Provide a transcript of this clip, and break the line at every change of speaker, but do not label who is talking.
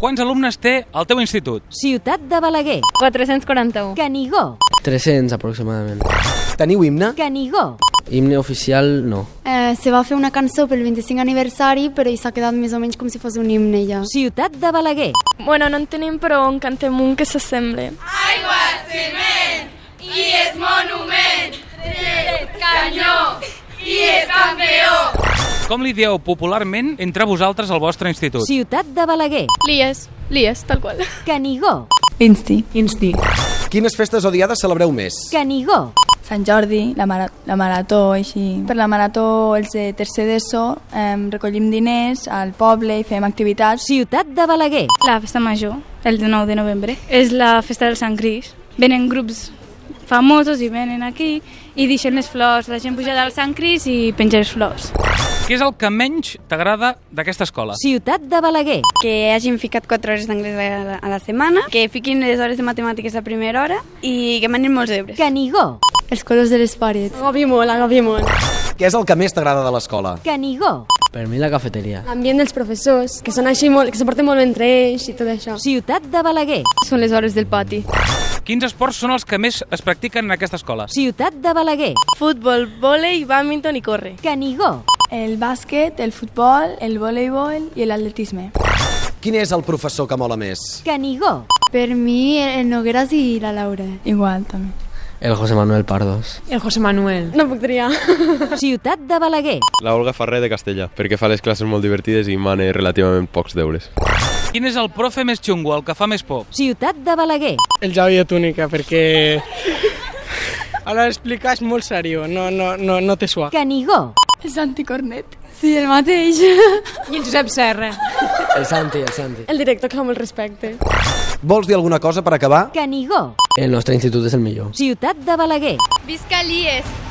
Quants alumnes té el teu institut?
Ciutat de Balaguer,
441.
Canigó,
300 aproximadament.
Teniu himne?
Canigó,
Himne oficial, no.
Eh, se va fer una cançó pel 25 aniversari, però i s'ha quedat més o menys com si fos un himne ja.
Ciutat de Balaguer,
Bueno, no en tenim, però en cantem un que s'assembli.
Com li dieu popularment entre vosaltres al vostre institut?
Ciutat de Balaguer,
Lies. Lies, tal qual.
Canigó,
Insti. Insti.
Quines festes o diades celebreu més?
Canigó,
Sant Jordi, la, mara la marató, així. Per la marató, els de tercer d'ESO, eh, recollim diners al poble i fem activitats.
Ciutat de Balaguer,
La festa major, el 9 de novembre, és la festa del Sant Cris. Venen grups famosos i venen aquí i deixen les flors. La gent puja del Sant Cris i penja les flors.
Què és el que menys t'agrada d'aquesta escola?
Ciutat de Balaguer,
Que hagin ficat 4 hores d'anglès a, la- a la setmana, que fiquin les hores de matemàtiques a primera hora i que manin molts ebres.
Canigó,
Els colors de les parets.
Agafi molt, agafi molt.
Què és el que més t'agrada de l'escola?
Canigó,
Per mi la cafeteria.
L'ambient dels professors, que són així molt, que se porten molt bé entre ells i tot això.
Ciutat de Balaguer,
Són les hores del pati.
Quins esports són els que més es practiquen en aquesta escola?
Ciutat de Balaguer,
Futbol, vòlei, badminton i corre.
Canigó,
El bàsquet, el futbol, el voleibol i l'atletisme.
Quin és el professor que mola més?
Canigó,
Per mi, el Nogueras i la Laura.
Igual, també.
El José Manuel Pardos.
El José Manuel.
No puc triar.
Ciutat de Balaguer,
La Olga Ferrer de Castella, perquè fa les classes molt divertides i mane relativament pocs deures.
Quin és el profe més xungo, el que fa més por?
Ciutat de Balaguer,
El Javi de Túnica, perquè... A l'hora d'explicar és molt seriós, no, no, no, no té suac.
Canigó,
El Santi Cornet.
Sí, el mateix.
I el Josep Serra.
El Santi, el Santi.
El director que fa molt respecte.
Vols dir alguna cosa per acabar?
Canigó,
El nostre institut és el millor.
Ciutat de Balaguer,
Visca Lies.